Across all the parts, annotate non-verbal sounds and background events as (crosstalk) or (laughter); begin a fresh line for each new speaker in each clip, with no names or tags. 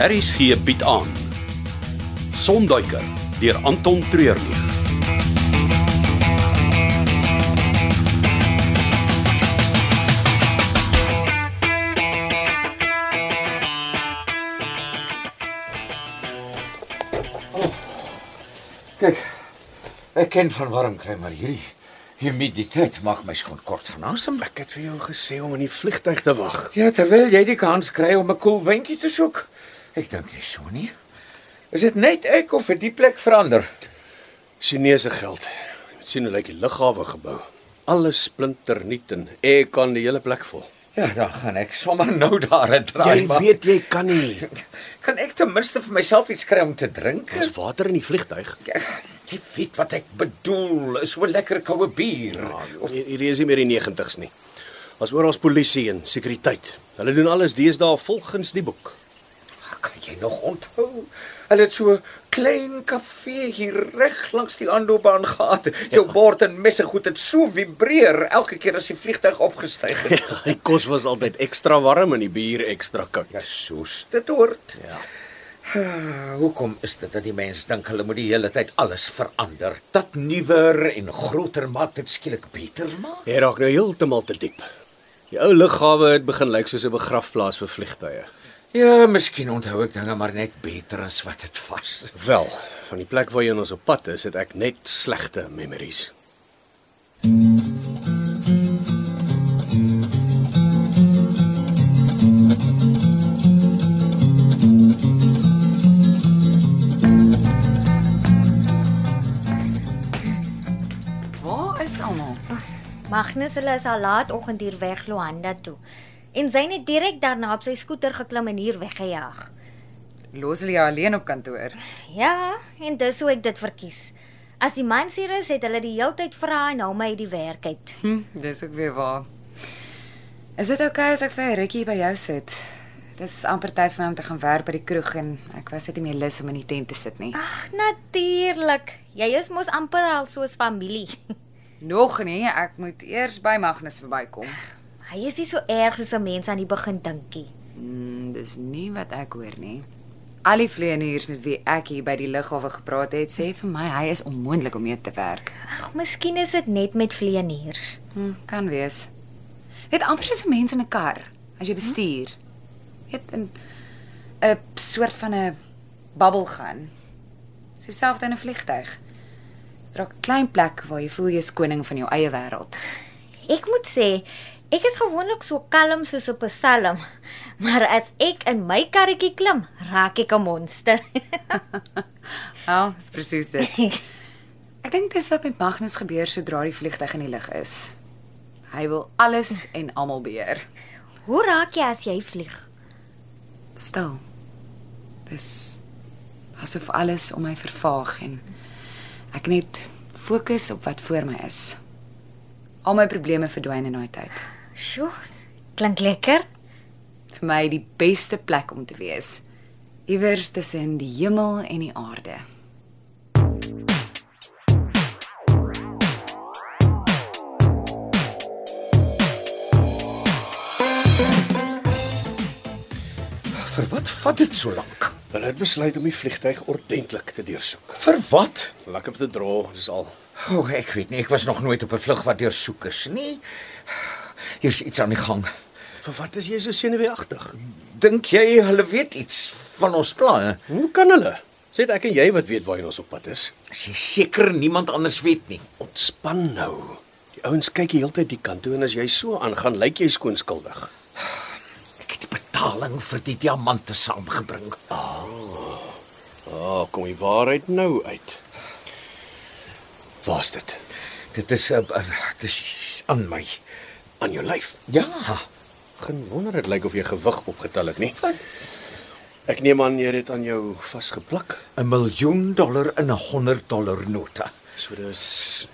RSG bied aan Sonduiker deur Anton Treurnig.
Kyk. Ek ken van warm kry, maar hierdie humiditeit maak my skoon kort van asem.
Ek het vir jou gesê om in die vliegtyg te wag.
Ja, terwyl jy die kans kry om 'n koel windjie te soek. Ek dink nie so nie. Is dit net ek of het die plek verander?
Chinese geld. Jy sien hoe lyk die lughawe gebou. Alles splinternuut en ek kan die hele plek vol.
Ja, dan gaan ek sommer nou daar 'n draai maak.
jy kan (laughs) nie.
kan ek ten minste vir myself iets kry om te drink?
Daar's water in die vliegtyg.
Ja, Jy weet wat ek bedoel, is so lekker koue bier.
Ah, Hierdie is nie meer die 90's nie. Was oral polisie en sekuriteit. Hulle doen alles deesdae volgens die boek.
Kan jy nog onthou? Hulle het so klein kafee hier reg langs die aanloopbaan gehad. Jou bord en messe goed het so vibreer elke keer as die vliegtyg opgestyg (laughs) het.
(laughs) die kos was altyd ekstra warm en die bier ekstra koud.
Ja, soos dit hoort.
Ja.
Ah, Hoekom is dit dat die mense dink hulle moet die hele tyd alles verander? Dat nuwer en groter maak dit skielik beter maak?
Jy raak nou heeltemal te diep. Die ou lughawe het begin lyk soos 'n begrafplaas vir vliegtye.
Ja, miskien onthou ek dinge maar net beter as wat dit was.
Wel, van die plek waar jy ons op pad is, het ek net slegte memories.
Waar is almal?
Magnus hulle is al laatoggend hier weg Luanda toe. En Zayn het direk daarna op sy skooter geklim en hier weggejaag.
Los hulle jou alleen op kantoor.
Ja, en dis hoe ek dit verkies. As die mans hier is, het hulle die heeltyd vra en hou my uit die werk uit.
Hm, dis ook weer waar. Is dit oukei okay as ek vir 'n rukkie by jou sit? Dis amper tyd vir my om te gaan werk by die kroeg en ek was net nie meer lus om in die tent te sit nie.
Ag, natuurlik. Jy is mos amper al soos familie. (laughs)
Nog nie, ek moet eers by Magnus verbykom.
Hy is nie so erg soos 'n mens aan die begin dinkie.
Mm, dis nie wat ek hoor nie. Al die vleieniers met wie ek hier by die lughawe gepraat het, sê vir my hy is onmoontlik om mee te werk.
Ag, miskien is dit net met vleieniers.
Hm, kan wees. Weet amper soos 'n mens in 'n kar as jy bestuur. Weet in 'n soort van 'n bubbel gaan. Dis dieselfde in 'n vliegtyg. Draak 'n klein plek waar jy voel jy's koning van jou eie wêreld. (laughs)
Ek moet sê, ek is gewoonlik so kalm soos op 'n psalm, (laughs) maar as ek in my karretjie klim, raak ek 'n monster. (laughs)
Wel, Ja, dis presies dit. Ek dink dis wat met Magnus gebeur sodra die vliegtyg in die lug is. Hy wil alles en almal beheer.
Hoe raak jy as jy vlieg?
stil. Dis asof alles om my vervaag en ek net fokus op wat voor my is. Al my probleme verdwyn in daai tyd.
Sjoe, klink lekker.
Vir my die beste plek om te wees. Iewers tussen die hemel en die aarde.
Vir wat vat dit so lank?
Hulle het besluit om die vliegtyg ordentlik te deursoek.
Vir wat?
Lekker te dra, dis al.
O, oh, ek weet nie, ek was nog nooit op 'n vlug wat deursoek is nie. Hier's iets aan die gang.
Vir wat is jy so senuweeagtig?
Dink jy hulle weet iets van ons planne?
Hoe kan hulle? Sê dit ek en jy wat weet waarheen ons op pad is.
As jy seker niemand anders weet nie.
Ontspan nou. Die ouens kyk die hele tyd die kant toe en as jy so aangaan, lyk jy skoonskuldig.
Ek het die betaling vir die diamante saamgebring.
Ah, oh, kom die waarheid nou uit. Waar's dit?
Dit is uh, uh, dit is aan my.
Aan jou lyf.
Ja,
Geen wonder dit lyk of jy gewig opgetel het nie. Ek neem aan jy het dit aan jou vasgeplak.
'n miljoen dollar in 'n 100 dollar nota. (laughs)
So dis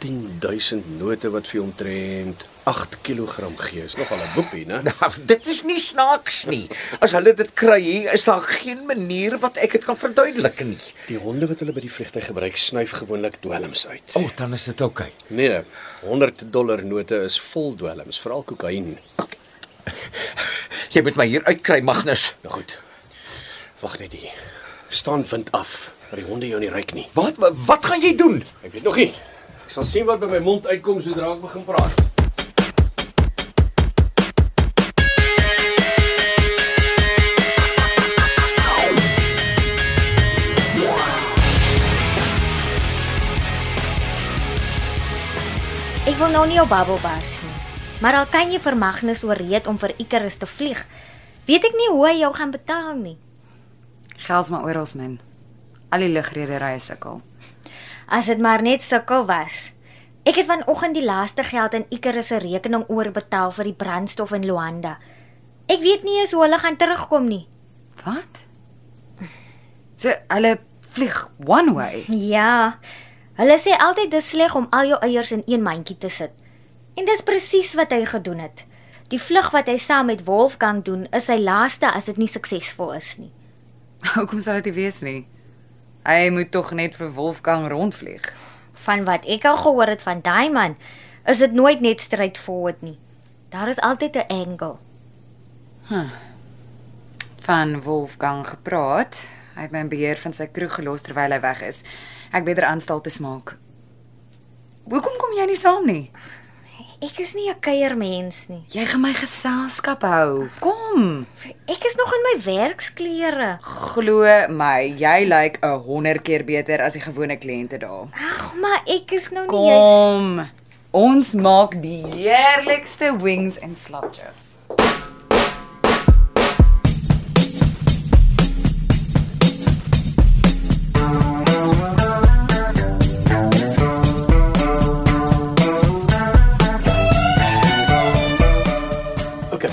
10000 note wat vir jou omtrent 8 kg gee. Is nogal 'n boepie, né?
Nou, dit is nie snaaks nie. As hulle dit kry, is daar geen manier wat ek dit kan verduidelik nie.
Die honde wat hulle by die vliegtyg gebruik, snuif gewoonlik dwelms uit.
O, oh, dan is dit oukei. Okay.
Nee, 100 dollar note is vol dwelms, veral kokain.
Jy moet my hier uitkry, Magnus.
Nou goed. Wag net hier. Staan wind af. Dat die honde jou nie ryk nie.
Wat wat, wat gaan jy doen?
Ek weet nog nie. Ek sal sien wat by my mond uitkom sodra ek begin praat.
Ek wil nou nie op babbel bars nie. Maar al kan jy vir Magnus ooreed om vir Icarus te vlieg, weet ek nie hoe hy jou gaan betaal nie.
Gels maar oral min. Al die lugrederye sukkel.
As dit maar net sukkel was. Ek het vanoggend die laaste geld in Icarus se rekening oorbetaal vir die brandstof in Luanda. Ek weet nie eens hoe hulle gaan terugkom nie.
Wat? So hulle vlieg one way. (laughs)
Ja. Hulle sê altyd dis sleg om al jou eiers in een mandjie te sit. En dis presies wat hy gedoen het. Die vlug wat hy saam met Wolfgang doen, is sy laaste as dit nie suksesvol is nie.
Hoekom sal dit nie wees nie? Hy moet tog net vir Wolfgang rondvlieg.
Van wat ek al gehoor het van daai man, is dit nooit net straightforward nie. Daar is altyd 'n angle.
Van Wolfgang gepraat. Hy het my in beheer van sy kroeg gelos terwyl hy weg is. Ek beter aanstal te maak. Hoekom kom jy nie saam nie?
Ek is nie 'n kuiermens nie.
Jy gaan my geselskap hou. Kom.
Ek is nog in my werksklere.
Glo my, jy lyk like 'n 100 keer beter as die gewone kliënte daar.
Ag, maar ek is nou nie juis
Kom. Ons maak die heerlikste wings en slapchips.
OK.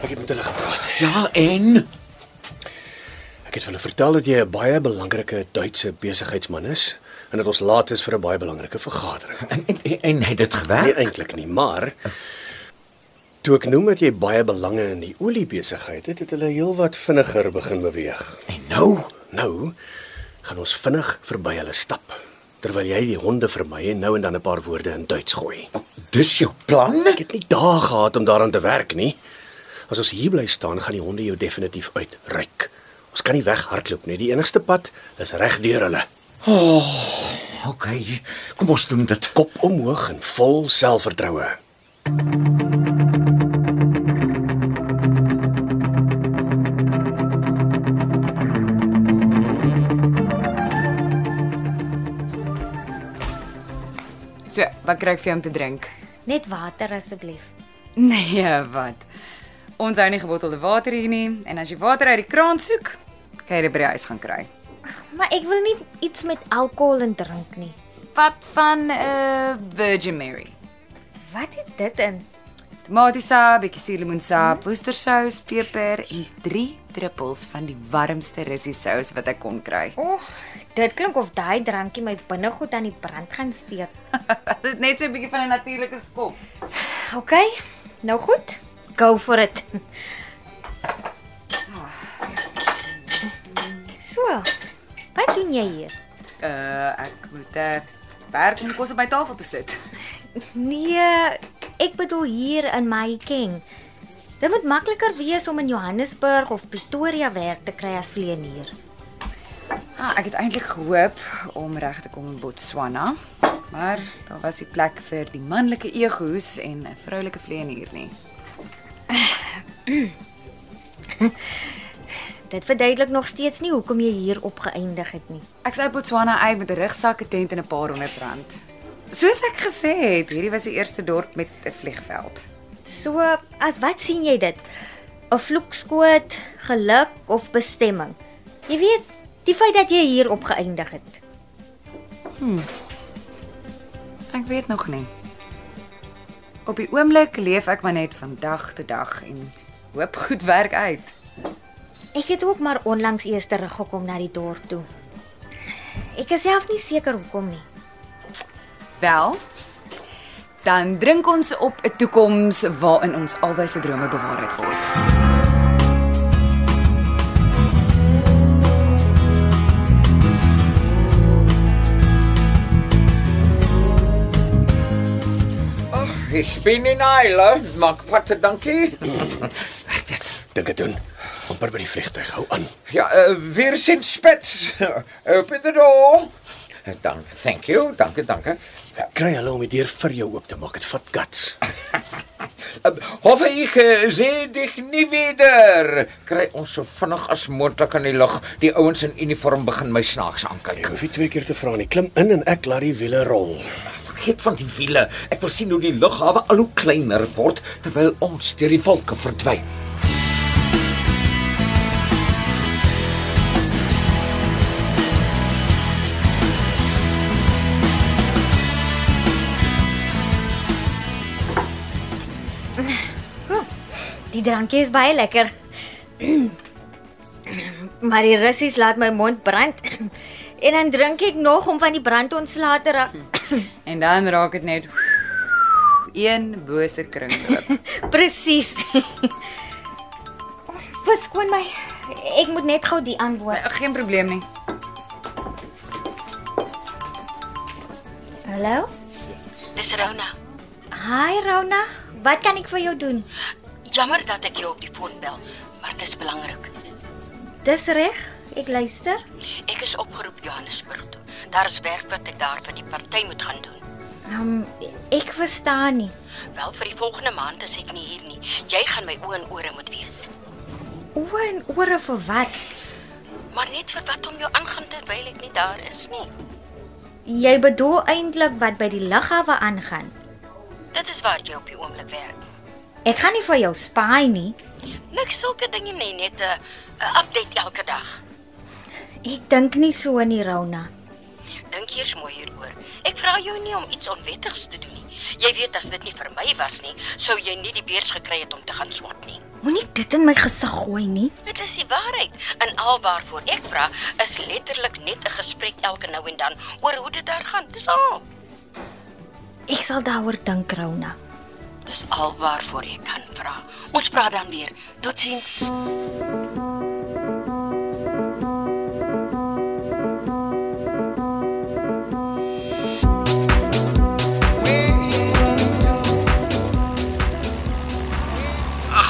Ek het met hulle gepraat.
Ja, en
Ek het vir hulle vertel dat jy 'n baie belangrike Duitse besigheidsman is en dat ons laat is vir 'n baie belangrike vergadering.
en en, en het dit
Nee,
gewerk?
eintlik nie, maar toe ek noem dat jy baie belange in die oliebesigheid het, het hulle heelwat vinniger begin beweeg.
en nou
Nou gaan ons vinnig verby hulle stap terwyl jy die honde vermy en nou en dan 'n paar woorde in Duits gooi.
Dis jou plan?
Ek het nie dae gehad om daaraan te werk nie. As ons hier bly staan, gaan die honde jou definitief uitryk. Ons kan nie weghardloop nie. Die enigste pad is reg deur hulle.
Oh, OK, kom ons doen dit.
Kop omhoog en vol selfvertroue.
So, wat kry ek vir jou om te drink?
net water asseblief.
Nee, wat? Ons hou nie gebottelde water hier nie en as jy water uit die kraan soek, kan jy dit by die huis gaan kry.
Maar ek wil nie iets met alkohol en drink nie.
Wat van 'n uh, Virgin Mary?
Wat het dit in?
Tomatiesap, bietjie suurlemoensap, woestersous, peper en 3 druppels van die warmste russie sous wat ek kon kry. (laughs)
O, oh, dit klink of daai drankie my binnegoed aan die brand gaan steek.
Dit is net so 'n bietjie van 'n natuurlike skop.
OK. Nou goed. Go for it. So. Wat doen jy hier?
Uh ek moet uh, werk om kos op my tafel te sit.
Nee, ek bedoel hier in my keng. Dit moet makliker wees om in Johannesburg of Pretoria werk te kry as vleenier.
Ah, ek het eintlik gehoop om reg te kom in Botswana, maar daar was nie plek vir die manlike ego's en 'n vroulike vleenier nie.
Dit verduidelik nog steeds nie hoekom jy hier opgeëindig het nie.
Ek sou Botswana uit met 'n rugsak, 'n tent en 'n paar honderd rand. Soos ek gesê het, hierdie was die eerste dorp met 'n vliegveld.
So, as wat sien jy dit? 'n Vloekskoot, geluk of bestemming? Jy weet, die feit dat jy hier opgeëindig het.
Ek weet nog nie. Op die oomblik leef ek maar net van dag tot dag en hoop goed werk uit.
Ek het ook maar onlangs eers teruggekom na die dorp toe. Ek is self nie seker hoekom nie.
Wel, dan drink ons op 'n toekoms waarin ons albei se drome bewaarheid word.
Ek bin in Eile. Maak wat dankie.
Dink dit doen. amper by die vliegtyg. Hou aan.
Ja, eh, weer sien spits. (laughs) Open the door. Dank, thank you. Dankie, dankie.
Kry hulle om die deur vir jou oop te maak. Dit vat guts.
Eh, Hoffe ek eh, sien dich nie weer. Kry ons so vinnig as moontlik aan die lug. Die ouens in uniform begin my snaaks
Ek
aankyk.
hoef nie twee keer te vra nie. Klim in en ek laat die wiele rol.
Vergeet van die wiele. Ek wil sien hoe die lughawe al hoe kleiner word terwyl ons deur die wolke verdwyn.
Die drankie is baie lekker. (clears throat) maar die russies laat my mond brand. (clears throat) en dan drink ek nog om van die brand ontslae te raak. (clears throat)
En dan raak dit net een bose kringloop.
Presies. (laughs) Verskoon my. Ek moet net gou die antwoord.
(laughs) Geen probleem nie.
Hallo?
Dis Rona.
Hi Rona. Wat kan ek vir jou doen?
Jammer dat ek jou op die foon bel, maar dit is belangrik.
Dis reg. Ek luister.
Ek is opgeroep Johannesburg toe. Daar is werk wat ek daar vir die party moet gaan doen.
Um, ek verstaan nie.
Wel vir die volgende maand is ek nie hier nie. Jy gaan my oë en ore moet wees.
O en ore vir wat?
Maar net vir wat om jou aangaan terwyl ek nie daar is nie.
Jy bedoel eintlik wat by die lughawe aangaan.
Dit is waar jy op die oomblik werk.
Ek gaan nie vir jou spy nie.
Niks sulke dinge nie, net 'n 'n update elke dag.
Ek dink nie so aan die Rona.
Dink eers mooi hieroor. Ek vra jou nie om iets onwettigs te doen nie. Jy weet as dit nie vir my was nie, sou jy nie die beurs gekry het om te gaan swat nie.
Moenie dit in my gesig gooi nie.
Dit is die waarheid. En al waarvoor ek vra, is letterlik net 'n gesprek elke nou en dan oor hoe dit daar gaan. Dis al.
Ek sal daaroor dink, Rona.
Dis al waarvoor ek kan vra. Ons praat dan weer. Totsiens.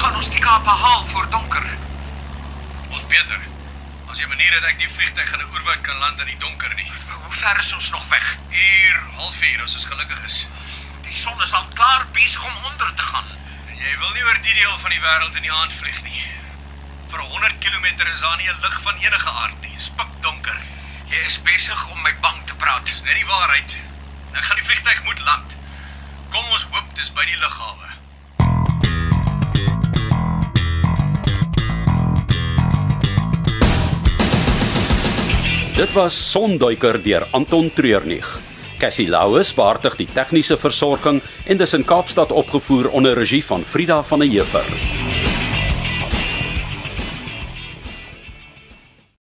gaan ons die Kaap haal voor donker. Ons beter. As jy manier het ek die vliegtyg in 'n oerwoud kan land in die donker nie. Hoe ver is ons nog weg? Uur, halfuur as ons gelukkig is. Die son is al klaar besig om onder te gaan. Jy wil nie oor die deel van die wêreld in die aand vlieg nie. Vir 100 km is daar nie 'n lig van enige aard nie. Spikdonker. Jy is besig om my bang te praat. Dis net die waarheid. Nou gaan die vliegtyg moet land. Kom ons hoop dis by die lughawe.
Dit was Sonduiker deur Anton Treurnig. Cassie Louws beheer die tegniese versorging en dis in Kaapstad opgevoer onder regie van Frida van der Heever.